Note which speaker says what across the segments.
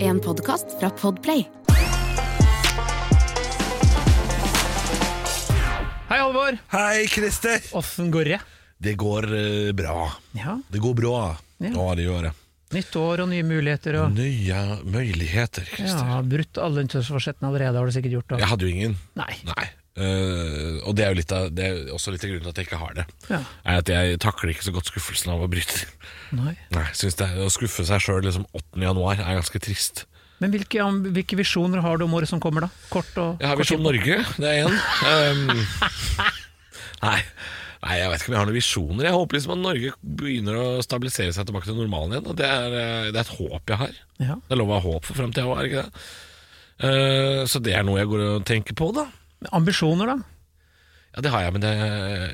Speaker 1: en podkast fra Podplay.
Speaker 2: Hei, Halvor!
Speaker 3: Hei, Christer!
Speaker 2: Åssen går det?
Speaker 3: Det går eh, bra.
Speaker 2: Ja,
Speaker 3: Det går bra.
Speaker 2: Ja.
Speaker 3: Ja, det gjør det.
Speaker 2: Nytt år og nye muligheter.
Speaker 3: Mm.
Speaker 2: Og,
Speaker 3: Nye muligheter, Christer.
Speaker 2: ja, Brutt alle nyttårsforsettene allerede, har du sikkert gjort. Og,
Speaker 3: Jeg hadde jo ingen.
Speaker 2: Nei.
Speaker 3: Nei. Eh, og det er jo litt av, det er jo også litt av grunnen til at jeg ikke har det.
Speaker 2: Ja.
Speaker 3: Er at Jeg takler ikke så godt skuffelsen av å bryte.
Speaker 2: Nei.
Speaker 3: Nei, jeg synes det er, Å skuffe seg sjøl liksom 8. januar er ganske trist.
Speaker 2: Men hvilke, am- hvilke visjoner har du om året som kommer, da? Kort og
Speaker 3: Jeg har
Speaker 2: kort
Speaker 3: Visjon
Speaker 2: tid.
Speaker 3: Norge, det er én. nei. nei, jeg vet ikke om jeg har noen visjoner. Jeg håper liksom at Norge begynner å stabilisere seg tilbake til normalen igjen. Og det er, eh, det er et håp jeg har.
Speaker 2: Ja.
Speaker 3: Det er lov å ha håp for framtida òg, er det ikke det? Eh, så det er noe jeg går og tenker på, da.
Speaker 2: Men Ambisjoner, da?
Speaker 3: Ja, det har jeg, men det,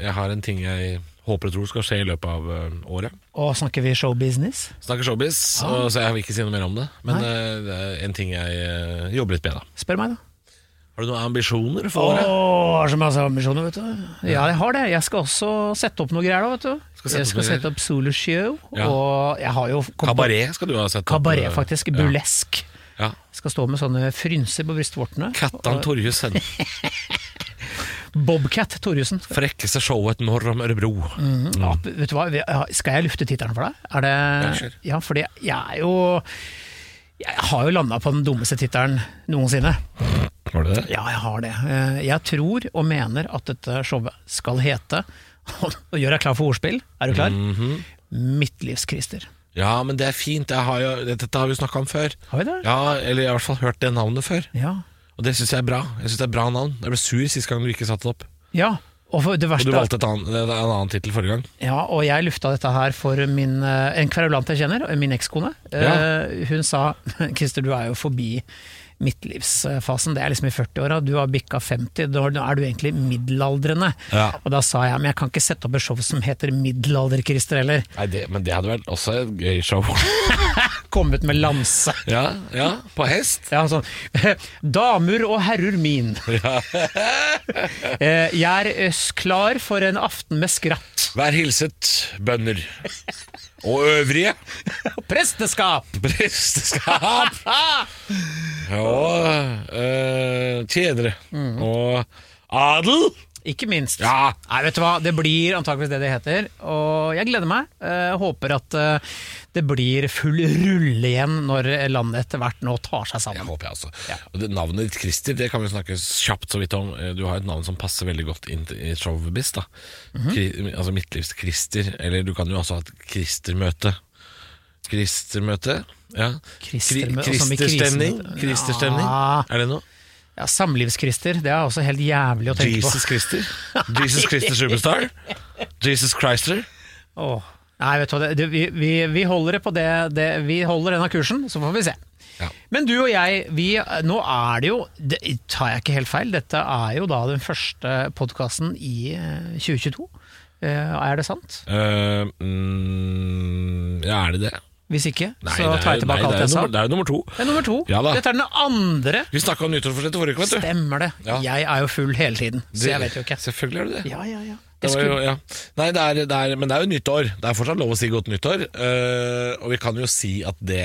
Speaker 3: jeg har en ting jeg håper og tror skal skje i løpet av eh, året.
Speaker 2: Og snakker vi showbusiness?
Speaker 3: Snakker showbiz,
Speaker 2: Ah.
Speaker 3: og, så jeg vil ikke si noe mer om det. Men eh, det er en ting jeg eh, jobber litt med, da.
Speaker 2: Spør meg, da.
Speaker 3: Har du noen ambisjoner
Speaker 2: Å,
Speaker 3: for året?
Speaker 2: har så masse ambisjoner, vet du. Ja, jeg har det. Jeg skal også sette opp noe greier, da, vet du.
Speaker 3: Skal sette
Speaker 2: jeg
Speaker 3: opp
Speaker 2: skal
Speaker 3: noe
Speaker 2: sette opp soloshow,
Speaker 3: Ja.
Speaker 2: og jeg har jo kommet-
Speaker 3: Kabaret skal du ha sett. opp,
Speaker 2: Kabaret,
Speaker 3: eh,
Speaker 2: faktisk.
Speaker 3: ja.
Speaker 2: Burlesk.
Speaker 3: Ja.
Speaker 2: Skal stå med sånne frynser på brystvortene.
Speaker 3: Kattan Torjussen.
Speaker 2: Bobcat Torjussen.
Speaker 3: Frekkeste showet norr om Ørebro.
Speaker 2: Ja, vet du hva? Vi- ja, Skal jeg lufte tittelen for deg? Er det
Speaker 3: Ja, kjør.
Speaker 2: Ja, fordi jeg er jo Jeg har jo landa på den dummeste tittelen noensinne.
Speaker 3: Var det det?
Speaker 2: Ja, jeg har det. Eh, Jeg tror og mener at dette showet skal hete Og gjør deg klar for ordspill. Er du klar?
Speaker 3: Mhm.
Speaker 2: Midtlivskrister.
Speaker 3: Ja, men det er fint. Jeg har jo, dette har vi snakka om før.
Speaker 2: Har vi det?
Speaker 3: Ja, Eller jeg har i hvert fall hørt det navnet før.
Speaker 2: Ja.
Speaker 3: Og det syns jeg er bra. Jeg synes det er bra navn Jeg ble sur sist gang du ikke satte det opp.
Speaker 2: ja. Og for det
Speaker 3: Og
Speaker 2: verste
Speaker 3: du
Speaker 2: er-
Speaker 3: valgte et annet, det er en annen tittel forrige gang.
Speaker 2: Ja, og jeg lufta dette her for min, eh, en kverulant jeg kjenner, eh, min ekskone.
Speaker 3: Ja.
Speaker 2: Eh, Hun sa Christer, du er jo forbi midtlivsfasen, det er liksom i 40-åra, du har bikka 50, da nå er du egentlig middelaldrende.
Speaker 3: Ja.
Speaker 2: Og da sa jeg men jeg kan ikke sette opp et show som heter Middelalder-Christer heller.
Speaker 3: Nei, det, Men det hadde vært også et gøy show.
Speaker 2: Komme ut med lanse.
Speaker 3: ja, ja, på hest.
Speaker 2: Ja, sånn. Damer og herrer min. Eh, Jeg er eh, klar for en aften med skratt.
Speaker 3: Vær hilset, bønder. Og øvrige
Speaker 2: Presteskap!
Speaker 3: presteskap. Og eh, tjenere. Og adel.
Speaker 2: Ikke minst.
Speaker 3: Ja.
Speaker 2: Nei, vet du hva, det blir antakeligvis det det heter. Og jeg gleder meg. Eh, håper at eh, det blir full rulle igjen når landet etter hvert nå tar seg
Speaker 3: Jeg
Speaker 2: sammen.
Speaker 3: håper jeg også.
Speaker 2: Ja.
Speaker 3: Og det, navnet ditt, Christer, det kan vi snakke kjapt så vidt om. Eh, Du har et navn som passer veldig godt inn til- i showbiz. da
Speaker 2: Mhm.
Speaker 3: Kri- Altså Midtlivs-Christer, eller du kan jo også ha et Christer-møte. Christer-møte? Ja.
Speaker 2: Christer-møte,
Speaker 3: Kri-
Speaker 2: som i
Speaker 3: Christer-stemning?
Speaker 2: krisemøte.
Speaker 3: Christer-stemning?
Speaker 2: Ja.
Speaker 3: Er det noe?
Speaker 2: Ja, Samlivskrister, det er også helt jævlig å tenke
Speaker 3: Jesus
Speaker 2: på.
Speaker 3: Christer? Jesus Christer Superstar? Jesus Christer?
Speaker 2: Åh. Nei, vet du hva, det, det, vi, vi, vi holder det på det, det Vi holder denne kursen, så får vi se.
Speaker 3: Ja.
Speaker 2: Men du og jeg, vi, nå er det jo det, Tar jeg ikke helt feil, dette er jo da den første podkasten i eh, 2022. Eh, er det sant?
Speaker 3: Eh, mm, ja, er det det?
Speaker 2: Hvis ikke,
Speaker 3: Nei,
Speaker 2: så
Speaker 3: det er,
Speaker 2: tar jeg
Speaker 3: nei,
Speaker 2: tilbake
Speaker 3: det
Speaker 2: alt
Speaker 3: er
Speaker 2: jeg sa.
Speaker 3: nummer- Det er jo nummer to.
Speaker 2: Det er nummer to.
Speaker 3: Ja da.
Speaker 2: Dette er den andre.
Speaker 3: Vi snakka om nyttårsforsettet forrige uke, vet du.
Speaker 2: Stemmer det.
Speaker 3: Ja.
Speaker 2: Jeg er jo full hele tiden, så jeg vet jo ikke.
Speaker 3: Selvfølgelig er det det.
Speaker 2: Ja, ja, ja. Jeg
Speaker 3: Det var jo,
Speaker 2: skulle,
Speaker 3: ja. Nei, det er, det er, men det er jo nyttår. Det er fortsatt lov å si godt nyttår. eh, og vi kan jo si at det,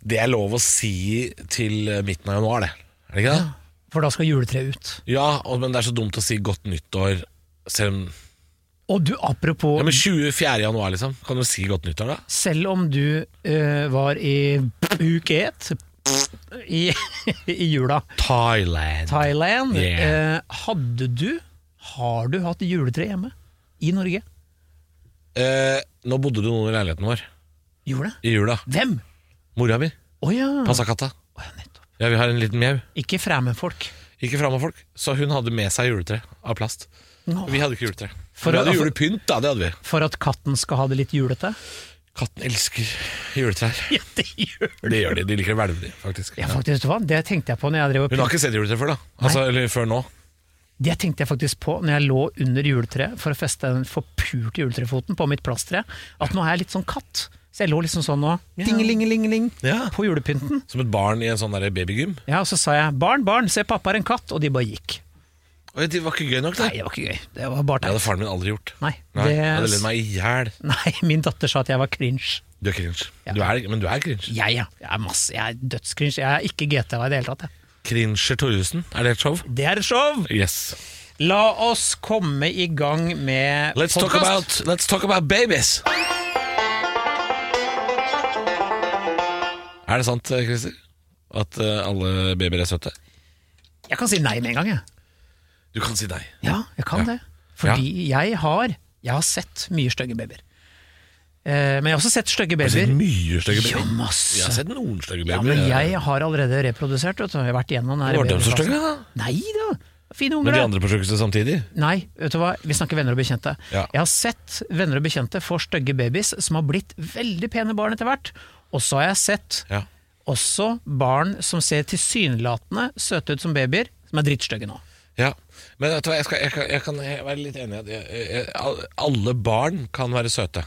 Speaker 3: det er lov å si til midten av januar, det. Er det ikke det?
Speaker 2: for da skal juletreet ut.
Speaker 3: Ja, og, men det er så dumt å si godt nyttår selv om
Speaker 2: Og du, apropos,
Speaker 3: ja, men 24. januar, liksom. Kan du si godt nyttår, da?
Speaker 2: selv om du eh, var i uke ett i, i jula,
Speaker 3: Thailand.
Speaker 2: Thailand,
Speaker 3: Yeah.
Speaker 2: eh, hadde du, har du hatt juletre hjemme i Norge?
Speaker 3: Eh, nå bodde du noen i leiligheten vår
Speaker 2: Gjorde det?
Speaker 3: i jula.
Speaker 2: Hvem?
Speaker 3: Mora mi
Speaker 2: Å ja.
Speaker 3: passa katta.
Speaker 2: Å ja, nettopp.
Speaker 3: Ja, vi har en liten mjau.
Speaker 2: Ikke fremmedfolk.
Speaker 3: Ikke fram av folk. Så hun hadde med seg juletre av plast.
Speaker 2: Nå.
Speaker 3: Vi hadde ikke juletre.
Speaker 2: For
Speaker 3: vi
Speaker 2: å- altså-
Speaker 3: hadde julepynt, da. Det hadde vi.
Speaker 2: For at katten skal ha det litt julete?
Speaker 3: Katten elsker juletrær.
Speaker 2: Ja, det gjør
Speaker 3: Det gjør de. De liker å hvelve de, faktisk.
Speaker 2: Ja, faktisk, vet du hva? Det tenkte jeg på når jeg drev og
Speaker 3: Hun har ikke sett juletre før, da. Altså, eller før nå.
Speaker 2: Det tenkte jeg faktisk på når jeg lå under juletreet for å feste den forpulte juletrefoten på mitt plasttre. At nå er jeg litt sånn katt. Så jeg lå liksom sånn og dingelingelingeling
Speaker 3: Ja.
Speaker 2: på julepynten.
Speaker 3: Som et barn i en sånn der babygym.
Speaker 2: Ja, Og så sa jeg 'barn, barn, se pappa er en katt', og de bare gikk.
Speaker 3: Oi, det var ikke gøy nok,
Speaker 2: Nei,
Speaker 3: det.
Speaker 2: det var ikke gøy. Det var bare
Speaker 3: Det hadde
Speaker 2: teit.
Speaker 3: faren min aldri gjort.
Speaker 2: Nei,
Speaker 3: Nei,
Speaker 2: det,
Speaker 3: Jeg hadde ledd meg i hjel.
Speaker 2: nei, min datter sa at jeg var cringe.
Speaker 3: Du er cringe.
Speaker 2: Ja.
Speaker 3: Du er, men du er cringe.
Speaker 2: Jeg, ja. Jeg er, masse, jeg er dødscringe. Jeg er ikke GTA i det hele tatt. Jeg.
Speaker 3: Cringer Torjussen, er det et show?
Speaker 2: Det er et show!
Speaker 3: Yes.
Speaker 2: La oss komme i gang med
Speaker 3: Let's talk,
Speaker 2: podcast.
Speaker 3: about, let's talk about babies. Er det sant, eh, Christer? At eh, alle babyer er søte?
Speaker 2: Jeg kan si nei med en gang, jeg.
Speaker 3: Du kan si nei.
Speaker 2: Ja, jeg kan
Speaker 3: Ja.
Speaker 2: det. Fordi jeg har Jeg har sett mye stygge babyer. Eh, men jeg har også sett stygge
Speaker 3: Har du sett
Speaker 2: babyer.
Speaker 3: mye stygge
Speaker 2: Ja,
Speaker 3: babyer? Jeg har
Speaker 2: masse.
Speaker 3: sett noen stygge
Speaker 2: Ja,
Speaker 3: babyer.
Speaker 2: men jeg har allerede reprodusert, vet du. Jeg har vært igjennom den her
Speaker 3: Var de så
Speaker 2: babyfasen.
Speaker 3: stygge, da?
Speaker 2: Nei da. Fine
Speaker 3: Når
Speaker 2: unger,
Speaker 3: de
Speaker 2: da.
Speaker 3: andre forsøkte samtidig?
Speaker 2: Nei, vet du hva? vi snakker venner og bekjente.
Speaker 3: Ja.
Speaker 2: Jeg har sett venner og bekjente få stygge babies som har blitt veldig pene barn etter hvert. Og så har jeg sett
Speaker 3: Ja.
Speaker 2: også barn som ser tilsynelatende søte ut som babyer, som er drittstygge nå.
Speaker 3: ja. Men vet du hva, jeg, skal, jeg, kan, jeg kan være litt enig i at jeg, jeg, al- alle barn kan være søte.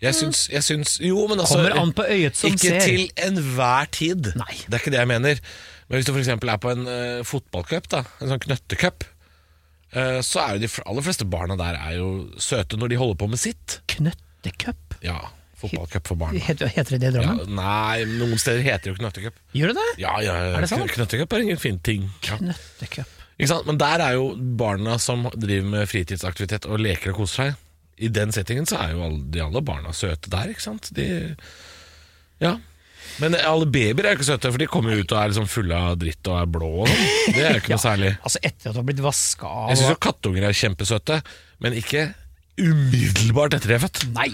Speaker 3: Jeg syns, jeg syns Jo, men altså
Speaker 2: Kommer an på øyet som
Speaker 3: ikke
Speaker 2: ser.
Speaker 3: til enhver tid.
Speaker 2: Nei.
Speaker 3: Det er ikke det jeg mener. Men hvis du f.eks. er på en uh, fotballcup, da, en sånn knøttecup, eh, så er jo de fl- aller fleste barna der er jo søte når de holder på med sitt.
Speaker 2: Knøttecup?
Speaker 3: Ja, fotballcup for barn.
Speaker 2: Heter, heter det det i
Speaker 3: Ja,
Speaker 2: Drammen?
Speaker 3: nei, noen steder heter det jo knøttecup.
Speaker 2: Gjør det det?
Speaker 3: Ja, ja, ja.
Speaker 2: Er det sant?
Speaker 3: Knøttecup er ingen fin ting. Ja.
Speaker 2: Knøttecup.
Speaker 3: Ikke sant? Men der er jo barna som driver med fritidsaktivitet og leker og koser seg. I den settingen så er jo alle, de alle barna søte der, ikke sant? De, ja. Men alle babyer er jo ikke søte, for de kommer jo ut og er liksom fulle av dritt og er blå. Og sånn. det er jo ikke noe særlig.
Speaker 2: Altså etter at du har blitt vaska av
Speaker 3: Jeg syns jo kattunger er kjempesøte, men ikke umiddelbart etter de er født.
Speaker 2: Nei!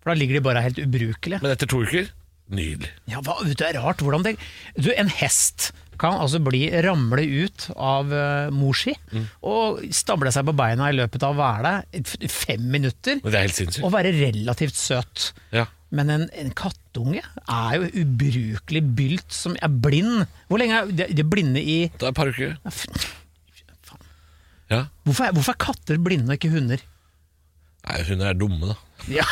Speaker 2: For da ligger de bare helt ubrukelige.
Speaker 3: Men etter to uker nydelig.
Speaker 2: Ja, hva, vet du, det er rart hvordan det Du, en hest kan altså bli ramle ut av uh, morsi
Speaker 3: Mm.
Speaker 2: og stable seg på beina i løpet av å være der f- fem minutter
Speaker 3: Men det er helt sinnssykt.
Speaker 2: og være relativt søt.
Speaker 3: Ja.
Speaker 2: Men en, en kattunge er jo ubrukelig bylt som er blind. Hvor lenge er de, de er blinde i
Speaker 3: Det er et par uker.
Speaker 2: Ja, f- faen.
Speaker 3: Ja.
Speaker 2: hvorfor, er, hvorfor er katter blinde og ikke hunder?
Speaker 3: Nei, hunder er dumme, da.
Speaker 2: Ja.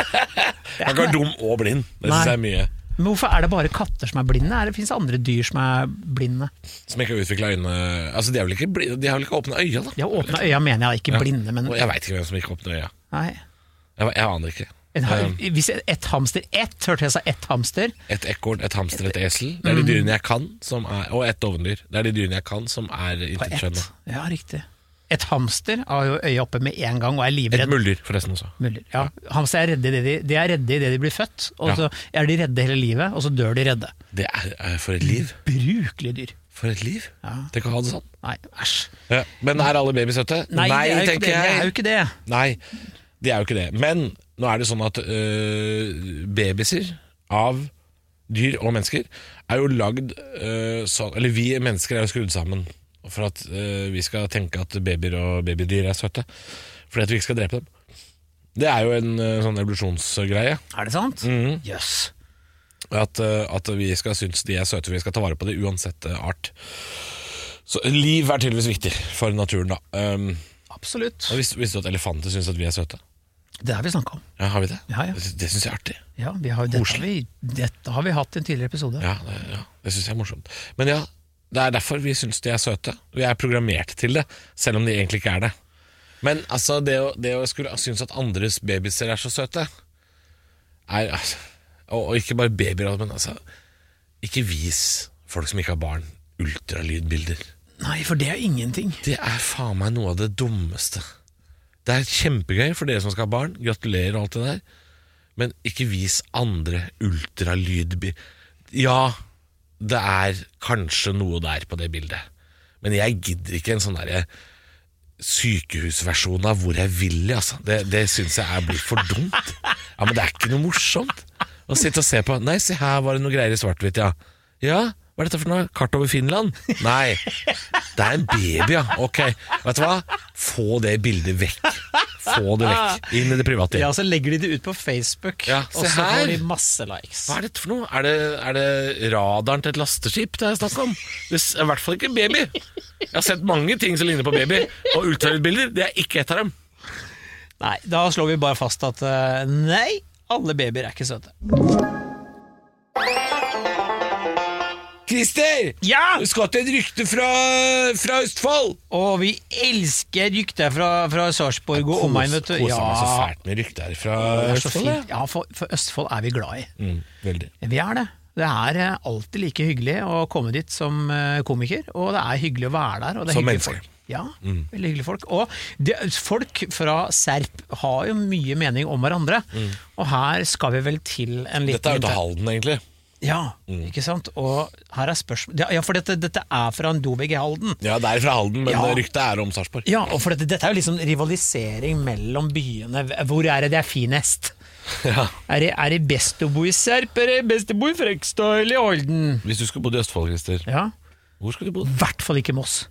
Speaker 3: Man kan være dum og blind. Det syns
Speaker 2: Nei.
Speaker 3: jeg er mye.
Speaker 2: Men hvorfor er det bare katter som er blinde? Er det Fins andre dyr som er blinde?
Speaker 3: Som ikke har utvikla øynene Altså, de har vel ikke, bli- de har vel ikke åpna øya, da?
Speaker 2: De har åpna øya, mener jeg, ikke blinde, men
Speaker 3: Og jeg veit ikke hvem som ikke åpner øya.
Speaker 2: nei.
Speaker 3: Jeg, jeg aner ikke.
Speaker 2: En, ha-
Speaker 3: Um,
Speaker 2: hvis ett hamster Ett, hørte jeg sa ett hamster.
Speaker 3: Et ekorn, et hamster, et esel. Det
Speaker 2: Mm.
Speaker 3: er de dyrene jeg kan, som er Og et dovendyr. Det er de dyrene jeg kan, som er
Speaker 2: Ett.
Speaker 3: intetkjønna.
Speaker 2: Ja, riktig. Et hamster har jo øya oppe med en gang og er
Speaker 3: Et
Speaker 2: livredd.
Speaker 3: muldyr, forresten også.
Speaker 2: Muller. Ja. Hamster er redde i det de, de er redde i det de blir født, og
Speaker 3: Ja.
Speaker 2: så er de redde hele livet, og så dør de redde.
Speaker 3: Det er, er For et liv.
Speaker 2: Brukelige dyr.
Speaker 3: For et liv. Tenk å ha det sånn.
Speaker 2: Nei, æsj.
Speaker 3: Ja. Men er alle babyer søte?
Speaker 2: Nei, det, er jo ikke
Speaker 3: tenker
Speaker 2: det. det er jo
Speaker 3: jeg.
Speaker 2: ikke det.
Speaker 3: Nei, de er jo ikke det. Men nå er det sånn at øh, babyer av dyr og mennesker er jo lagd øh, sånn Eller vi mennesker er jo skrudd sammen for at øh, vi skal tenke at babyer og babydyr er søte. Fordi at vi ikke skal drepe dem. Det er jo en øh, sånn evolusjonsgreie.
Speaker 2: Er det sant? Jøss.
Speaker 3: Mm.
Speaker 2: Yes.
Speaker 3: At, øh, at vi skal synes de er søte, for vi skal ta vare på det uansett øh, art. Så liv er tydeligvis viktig for naturen, da. Um,
Speaker 2: Absolutt.
Speaker 3: og visste, visste du at elefanter syns at vi er søte?
Speaker 2: Det har vi snakka om.
Speaker 3: Ja, har vi det?
Speaker 2: Ja, ja.
Speaker 3: Det, det syns jeg er artig.
Speaker 2: Ja, vi har, dette, har vi, dette har vi hatt i en tidligere episode.
Speaker 3: Ja, det, ja, det syns jeg er morsomt. Men ja, det er derfor vi syns de er søte. Vi er programmert til det, selv om de egentlig ikke er det. Men altså, det å, det å skulle synes at andres babyer er så søte er, altså, og, og ikke bare babyer, men altså Ikke vis folk som ikke har barn, ultralydbilder.
Speaker 2: Nei, for det er ingenting.
Speaker 3: Det er faen meg noe av det dummeste. Det er kjempegøy for dere som skal ha barn. Gratulerer og alt det der. Men ikke vis andre ultralydbi... Ja, det er kanskje noe der på det bildet. Men jeg gidder ikke en sånn derre sykehusversjon av hvor jeg vil, altså. Det, det syns jeg er blir for dumt. Ja, Men det er ikke noe morsomt å sitte og se på. Nei, se her var det noe greier i svart-hvitt, ja. Ja, hva er dette for noe? Kart over Finland? Nei. Det er en baby, ja. Ok. Vet du hva? Få det bildet vekk. Få det vekk. Inn i det private.
Speaker 2: Ja, Så legger de det ut på Facebook,
Speaker 3: Ja,
Speaker 2: og
Speaker 3: se
Speaker 2: så får
Speaker 3: her.
Speaker 2: de masse likes.
Speaker 3: Hva er dette for noe? Er det, er det radaren til et lasteskip det er snakk om? Det s- er i hvert fall ikke en baby. Jeg har sett mange ting som ligner på baby, og ultralydbilder, det er ikke et av dem.
Speaker 2: Nei, da slår vi bare fast at eh, nei, alle babyer er ikke søte.
Speaker 3: Christer!
Speaker 2: Ja!
Speaker 3: Du skal til et rykte fra, fra Østfold!
Speaker 2: Og vi elsker rykter fra, fra Sarpsborg og omegn, vet du.
Speaker 3: Koser meg så
Speaker 2: Ja,
Speaker 3: fælt med rykter fra
Speaker 2: det er så
Speaker 3: Østfold.
Speaker 2: fint. Ja, for, for Østfold er vi glad i.
Speaker 3: jeg. Mm, veldig.
Speaker 2: Vi er det. Det er eh, alltid like hyggelig å komme dit som eh, komiker, og det er hyggelig å være der. Og det er
Speaker 3: Som
Speaker 2: hyggelige
Speaker 3: menneske.
Speaker 2: Folk.
Speaker 3: Mm.
Speaker 2: Ja, veldig hyggelige folk. Og det, folk fra Serp har jo mye mening om hverandre, og her skal vi vel til en liten
Speaker 3: Mm. Dette er jo til Mm. Halden, egentlig.
Speaker 2: Ja, ikke sant? Og her er spørsmål Ja, for dette, dette er fra en dovegg i Halden.
Speaker 3: Ja, det er fra Halden, men
Speaker 2: Ja.
Speaker 3: ryktet er om Sarpsborg.
Speaker 2: Ja, og for dette, dette er jo liksom rivalisering mellom byene. Hvor er det det er finest?
Speaker 3: Ja.
Speaker 2: Er det, er det best å bo i Serp, eller best å bo i Frekstad eller i Olden?
Speaker 3: Hvis du skulle bodd i Østfold, Christer,
Speaker 2: Ja,
Speaker 3: hvor skulle du bodd?
Speaker 2: i hvert fall ikke Moss.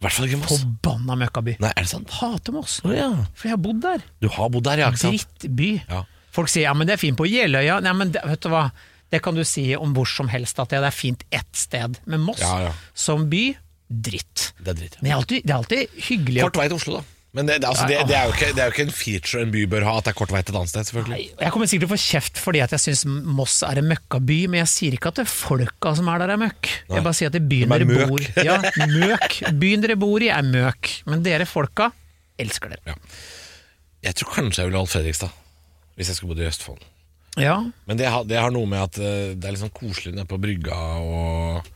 Speaker 3: I hvert fall ikke i Moss.
Speaker 2: Forbanna møkkaby.
Speaker 3: Nei, er det sant?
Speaker 2: Hater Moss,
Speaker 3: Å ja.
Speaker 2: for jeg har bodd der.
Speaker 3: Du har bodd der, ja, ikke sant?
Speaker 2: Drittby.
Speaker 3: Ja.
Speaker 2: Folk sier ja, men det er fint på Jeløya. Nei, men det, vet du hva, det kan du si om hvor som helst at det er fint ett sted. Men Moss
Speaker 3: Ja, ja.
Speaker 2: som by, dritt.
Speaker 3: Det er dritt.
Speaker 2: Men det er alltid, det er alltid hyggelig å
Speaker 3: Kort vei til Oslo, da. Men det, det, altså, det, det, er jo ikke, det er jo ikke en feature en by bør ha, at det er kort vei til et annet sted, selvfølgelig.
Speaker 2: Nei, Jeg kommer sikkert til å få kjeft fordi at jeg syns Moss er en møkkaby, men jeg sier ikke at det er folka som er der er møkk.
Speaker 3: Nei.
Speaker 2: Jeg bare sier at det er byen
Speaker 3: De er
Speaker 2: dere
Speaker 3: møk.
Speaker 2: bor Ja, møk. Byen dere bor i er møk, men dere folka elsker dere.
Speaker 3: Jeg tror kanskje jeg ville valgt Fredrikstad, hvis jeg skulle bodd i Østfold.
Speaker 2: Ja,
Speaker 3: Men det har, det har noe med at eh, det er litt sånn koselig nede på brygga, og,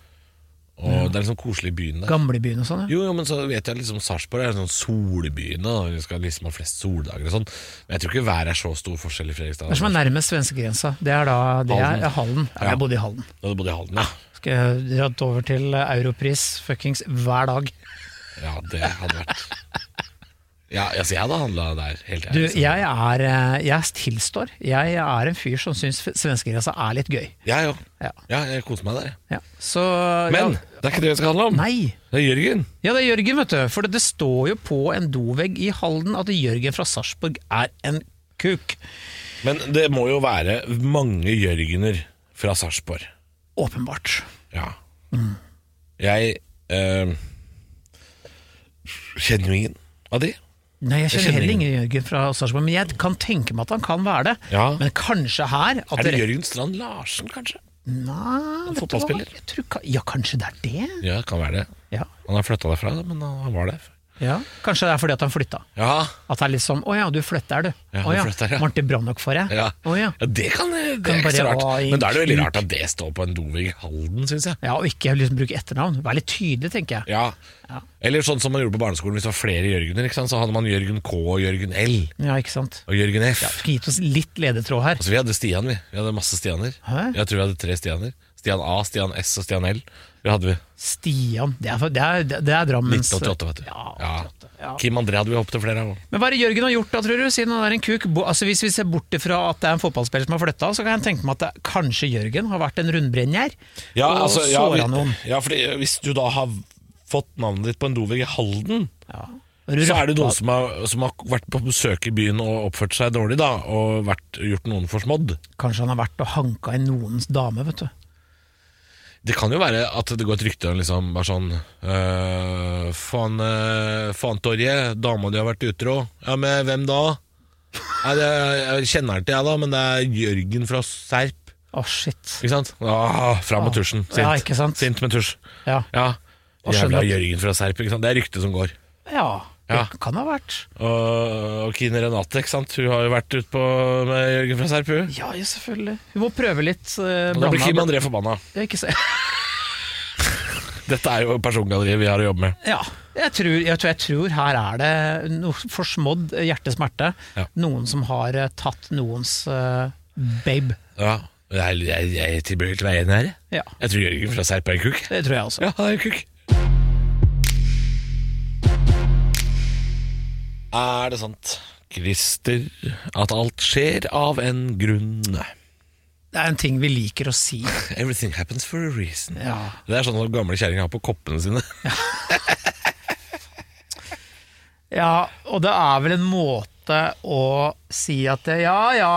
Speaker 3: og det er litt sånn koselig i byen der.
Speaker 2: gamlebyen og sånn, ja.
Speaker 3: Jo, jo, men så vet jeg liksom Sarpsborg er en sånn solbyen, og vi skal liksom ha flest soldager og sånn. Men jeg tror ikke været er så stor forskjell i Fredrikstad.
Speaker 2: Det som er nærmest svenskegrensa, det er da det er
Speaker 3: Halden.
Speaker 2: Halden. Ja,
Speaker 3: Ja.
Speaker 2: jeg bodde i Halden.
Speaker 3: Da hadde du bodd i Halden, ja.
Speaker 2: Skal jeg dratt over til Europris fuckings hver dag.
Speaker 3: Ja, det hadde vært Ja, altså jeg hadde handla der helt
Speaker 2: Du,
Speaker 3: ærlig. liksom.
Speaker 2: jeg er eh, Jeg tilstår. Jeg er en fyr som syns svenskegrensa er litt gøy.
Speaker 3: Jeg jo.
Speaker 2: Ja.
Speaker 3: Ja, jeg koser meg der, jeg.
Speaker 2: Ja. Så
Speaker 3: Men
Speaker 2: ja,
Speaker 3: det er ikke det det skal handle om.
Speaker 2: Nei.
Speaker 3: Det er Jørgen.
Speaker 2: Ja, det er Jørgen, vet du. For det, det står jo på en dovegg i Halden at Jørgen fra Sarpsborg er en kuk.
Speaker 3: Men det må jo være mange Jørgener fra Sarpsborg.
Speaker 2: Åpenbart.
Speaker 3: Ja.
Speaker 2: Mm.
Speaker 3: Jeg eh, kjenner jo ingen av de.
Speaker 2: Nei, jeg
Speaker 3: Jeg
Speaker 2: kjenner
Speaker 3: kjenner
Speaker 2: heller ingen Jørgen fra Sarpsborg, men jeg kan tenke meg at han kan være det.
Speaker 3: Ja.
Speaker 2: Men kanskje her at
Speaker 3: Er det
Speaker 2: rett-
Speaker 3: Jørgen Strand Larsen, kanskje?
Speaker 2: Nei, vet du hva?
Speaker 3: fotballspiller?
Speaker 2: Jeg tror ka- Ja, kanskje det er det?
Speaker 3: Ja, det kan være det.
Speaker 2: Ja.
Speaker 3: Han har flytta derfra, men han var der.
Speaker 2: ja. Kanskje det er fordi at han flytta.
Speaker 3: Ja,
Speaker 2: At det er litt sånn Å ja, du flytter, du.
Speaker 3: Ja,
Speaker 2: Å
Speaker 3: du flytter, ja.
Speaker 2: Martin Brannok for deg.
Speaker 3: ja.
Speaker 2: Å ja.
Speaker 3: ja det kan Det
Speaker 2: Kan
Speaker 3: er ikke så
Speaker 2: bare
Speaker 3: rart.
Speaker 2: ha en
Speaker 3: Men da er det jo veldig
Speaker 2: kuk.
Speaker 3: rart at det står på en dovegg i Halden, syns jeg.
Speaker 2: Ja, og ikke liksom bruke etternavn. Vær litt tydelig, tenker jeg.
Speaker 3: Ja. Eller sånn som man gjorde på barneskolen hvis det var flere Jørgener. Ikke sant? Så hadde man Jørgen K og Jørgen L
Speaker 2: Ja, ikke sant.
Speaker 3: og Jørgen F.
Speaker 2: Skulle gitt oss litt ledetråd her.
Speaker 3: Altså Vi hadde Stian, vi. Vi hadde masse Stianer.
Speaker 2: Hæ?
Speaker 3: Jeg tror vi hadde tre Stianer. Stian A, Stian S og Stian L. Det hadde vi.
Speaker 2: Stian. Det er, det er, det er Drammens
Speaker 3: 1988, vet du.
Speaker 2: Ja,
Speaker 3: Ja.
Speaker 2: 88, ja.
Speaker 3: Kim André hadde vi hoppet til flere av.
Speaker 2: Men hva er det Jørgen har gjort da, tror du? Siden han er en kuk. Bo, altså Hvis vi ser bort ifra at det er en fotballspiller som har flytta, så kan jeg tenke meg at det, kanskje Jørgen har vært en rundbrenner og såra noen.
Speaker 3: altså, ja, fordi hvis du da har fått navnet ditt på en dovegg i Halden,
Speaker 2: Ja.
Speaker 3: så er det noen som har, som har vært på besøk i byen og oppført seg dårlig, da, og vært, gjort noen forsmådd.
Speaker 2: Kanskje han har vært og hanka i noens dame, vet du.
Speaker 3: Det kan jo være at det går et rykte om liksom, bare sånn øh, Faen, øh, faen Torje, dama di har vært utro. Ja, men hvem da? Nei, det, jeg kjenner den til, jeg, da, men det er Jørgen fra Serp.
Speaker 2: Å, shit.
Speaker 3: Ikke sant? Ah, fram med tusjen. Sint.
Speaker 2: Ja, ikke sant?
Speaker 3: Sint med tusj.
Speaker 2: Ja.
Speaker 3: Ja.
Speaker 2: Og
Speaker 3: Jævla
Speaker 2: skjønner-
Speaker 3: Jørgen fra Serp. Ikke sant? Det er ryktet som går.
Speaker 2: ja. Det
Speaker 3: Ja.
Speaker 2: kan ha vært.
Speaker 3: Og, og Kine Renate, ikke sant? hun har jo vært ute på- med Jørgen fra Serp. Hun.
Speaker 2: Ja, ja, selvfølgelig. Vi må prøve litt. eh,
Speaker 3: Og da blir
Speaker 2: blanda-
Speaker 3: Kim André forbanna.
Speaker 2: Ja, ikke se.
Speaker 3: Dette er jo persongalleriet vi har å jobbe med.
Speaker 2: Ja, jeg tror, jeg, tror, jeg tror her er det noe forsmådd hjertesmerte.
Speaker 3: Ja.
Speaker 2: Noen som har eh, tatt noens eh, babe.
Speaker 3: Ja. Jeg, jeg, jeg tilbøyer til å være enig her. jeg.
Speaker 2: Ja,
Speaker 3: Jeg tror Jørgen fra Serp er en kuk.
Speaker 2: det tror jeg også.
Speaker 3: Ja, han er en kuk. Er det sant, Christer, at alt skjer av en grunn?
Speaker 2: Det er en ting vi liker å si.
Speaker 3: Everything happens for a reason.
Speaker 2: Ja.
Speaker 3: Det er sånn at gamle kjerringer har på koppene sine.
Speaker 2: Ja, og det er vel en måte å si at eh, ja, ja,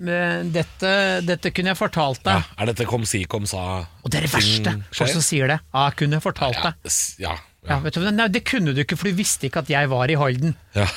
Speaker 2: men dette, dette kunne jeg fortalt
Speaker 3: Ja.
Speaker 2: deg.
Speaker 3: Er dette kom si, kom sa
Speaker 2: Og det er det
Speaker 3: ting
Speaker 2: verste. Folk som
Speaker 3: skjer?
Speaker 2: sier det. Ja, jeg kunne fortalt
Speaker 3: Ja,
Speaker 2: deg.
Speaker 3: s- ja,
Speaker 2: Ja,
Speaker 3: ja.
Speaker 2: vet du, hva? nei, det kunne du ikke, for du visste ikke at jeg var i Halden.
Speaker 3: ja.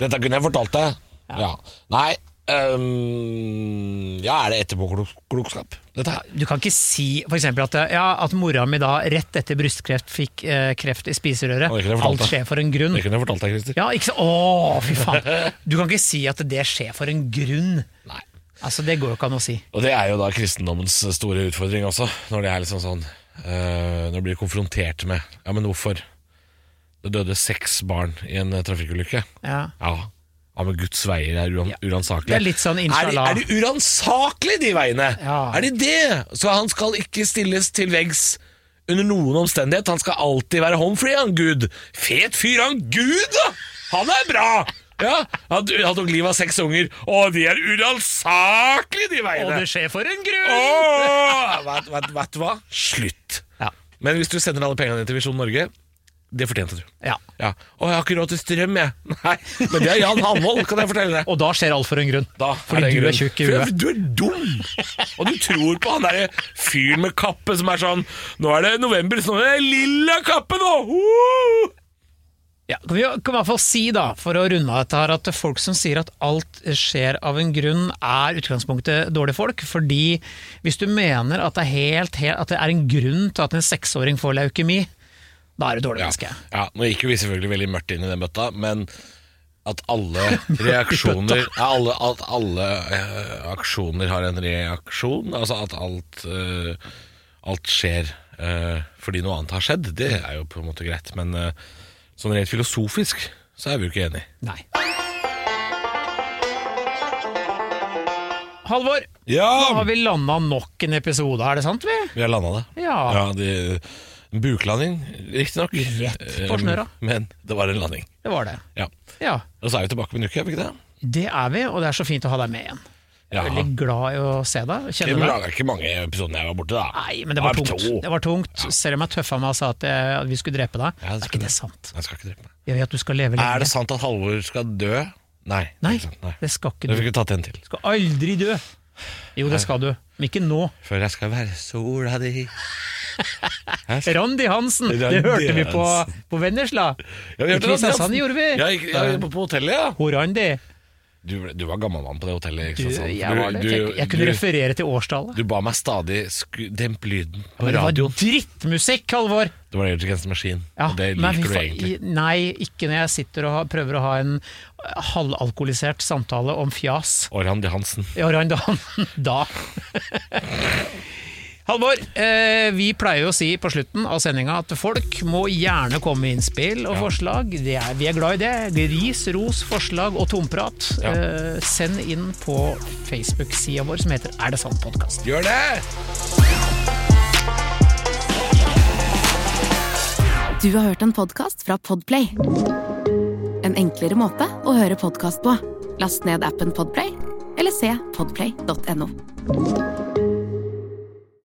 Speaker 3: Dette kunne jeg fortalt deg. Ja. Nei, Ehm, ja, er det etterpåklokskap? Dette her?
Speaker 2: Du kan ikke si for eksempel at, ja, at mora mi da rett etter brystkreft fikk eh, kreft i spiserøret.
Speaker 3: Å, det kunne jeg fortalt
Speaker 2: Alt
Speaker 3: deg.
Speaker 2: skjer for en grunn.
Speaker 3: Det kunne jeg fortalt deg, Christer.
Speaker 2: Ja, ikke så, Å, fy faen! Du kan ikke si at det skjer for en grunn.
Speaker 3: Nei.
Speaker 2: Altså, Det går jo ikke an å si.
Speaker 3: Og det er jo da kristendommens store utfordring også, når det er liksom sånn eh, Når du blir konfrontert med Ja, men hvorfor? Det døde seks barn i en eh, trafikkulykke.
Speaker 2: Ja.
Speaker 3: Ja. ja, men Guds veier er uran
Speaker 2: Ja.
Speaker 3: uransakelige.
Speaker 2: Det er litt sånn
Speaker 3: Er de,
Speaker 2: inshallah.
Speaker 3: er de uransakelige, de veiene?
Speaker 2: Ja.
Speaker 3: Er de det? Så han skal ikke stilles til veggs under noen omstendighet. Han skal alltid være home free, han Gud. Fet fyr, han Gud, da! Han er bra! Ja, Han, han tok livet av seks unger. Å, de er uransakelige, de veiene!
Speaker 2: skjer for en grunn!
Speaker 3: Åh, vet, vet, vet du hva? Slutt.
Speaker 2: Ja.
Speaker 3: Men hvis du sender alle pengene til Visjon Norge, det fortjente du.
Speaker 2: ja.
Speaker 3: Ja. Å, jeg har ikke råd til strøm, jeg. Nei, men det er Jan Hanvold, kan jeg fortelle deg.
Speaker 2: Og da skjer alt for en grunn.
Speaker 3: Da
Speaker 2: Fordi
Speaker 3: det
Speaker 2: du
Speaker 3: grunn.
Speaker 2: er tjukk i
Speaker 3: For
Speaker 2: huet.
Speaker 3: Du er dum! Og du tror på han derre fyren med kappe som er sånn Nå er det november, så nå er det lilla kappe nå! Woo!
Speaker 2: Ja, kan vi jo- kan i hvert fall si, da, for å runde av dette her, at folk som sier at alt skjer av en grunn, er utgangspunktet dårlige folk. Fordi hvis du mener at det er, helt, helt, at det er en grunn til at en seksåring får leukemi, da er du dårlig menneske.
Speaker 3: Ja, Nå gikk jo vi selvfølgelig veldig mørkt inn i den bøtta, men at alle reaksjoner ja, alle, At alle eh, aksjoner har en reaksjon, altså at alt, eh, alt skjer eh, fordi noe annet har skjedd, det er jo på en måte greit. Men eh, sånn rent filosofisk så er vi jo ikke enige.
Speaker 2: Nei. Halvor, nå
Speaker 3: Ja!
Speaker 2: har vi landa nok en episode, er det sant? vi?
Speaker 3: Vi har landa det.
Speaker 2: Ja.
Speaker 3: det- en buklanding, riktignok.
Speaker 2: Rett på snøra.
Speaker 3: Men det var en landing.
Speaker 2: Det var det.
Speaker 3: Ja.
Speaker 2: Ja,
Speaker 3: Og så er vi tilbake med en uke, er vi ikke det?
Speaker 2: det er vi, og det er så fint å ha deg med igjen. Jeg er
Speaker 3: Ja.
Speaker 2: Veldig glad i å se deg.
Speaker 3: Vi
Speaker 2: Kjenne deg.
Speaker 3: laga ikke mange episoder jeg var borte, da.
Speaker 2: Nei, men det var
Speaker 3: Ja,
Speaker 2: tungt.
Speaker 3: to.
Speaker 2: Det var tungt. Selv om jeg tøffa meg og sa at, jeg, at vi skulle drepe deg,
Speaker 3: Ja, det
Speaker 2: er
Speaker 3: skulle
Speaker 2: ikke
Speaker 3: du.
Speaker 2: det sant.
Speaker 3: Jeg skal ikke drepe meg.
Speaker 2: Jeg vil at du skal leve lenge.
Speaker 3: Er det sant at Halvor skal dø? Nei.
Speaker 2: Nei,
Speaker 3: ikke sant, Nei.
Speaker 2: det skal ikke
Speaker 3: Du
Speaker 2: du.
Speaker 3: fikk jo tatt en til.
Speaker 2: Du skal aldri dø. Jo, det skal du, men ikke nå.
Speaker 3: Før jeg skal være sola di
Speaker 2: Randi Hansen,
Speaker 3: Randi
Speaker 2: det hørte vi på,
Speaker 3: Hansen.
Speaker 2: på Vennesla.
Speaker 3: Ja, vi
Speaker 2: I
Speaker 3: hørte det,
Speaker 2: Kristiansand
Speaker 3: Hansen.
Speaker 2: gjorde vi.
Speaker 3: Ja, ikke- ja, på, på hotellet, ja.
Speaker 2: Hvor Randi?
Speaker 3: Du, ble- du var gammel mann på det hotellet. i
Speaker 2: Du,
Speaker 3: Kristiansand.
Speaker 2: jeg, var det. Tenk, jeg kunne
Speaker 3: du,
Speaker 2: referere til årstallet.
Speaker 3: du ba meg stadig sku, demp lyden på
Speaker 2: Men det var
Speaker 3: radioen.
Speaker 2: drittmusikk, Halvor!
Speaker 3: Det var Age Against the Machine.
Speaker 2: Ja,
Speaker 3: og det
Speaker 2: men
Speaker 3: liker
Speaker 2: fy
Speaker 3: du
Speaker 2: faen,
Speaker 3: egentlig.
Speaker 2: i- Nei, ikke når jeg sitter og har- prøver å ha en halvalkoholisert samtale om fjas.
Speaker 3: Og Randi Hansen.
Speaker 2: Ja, Randan. Da. Halvor, eh, vi pleier jo å si på slutten av sendinga at folk må gjerne komme med innspill og forslag. Det er, vi er glad i det. Ris, ros, forslag og tomprat.
Speaker 3: Ja.
Speaker 2: Eh, send inn på Facebook-sida vår som heter Er det sant podkast.
Speaker 3: Gjør det!
Speaker 1: Du har hørt en podcast fra Podplay En enklere måte å høre podcast på Last ned appen Podplay Eller se podplay.no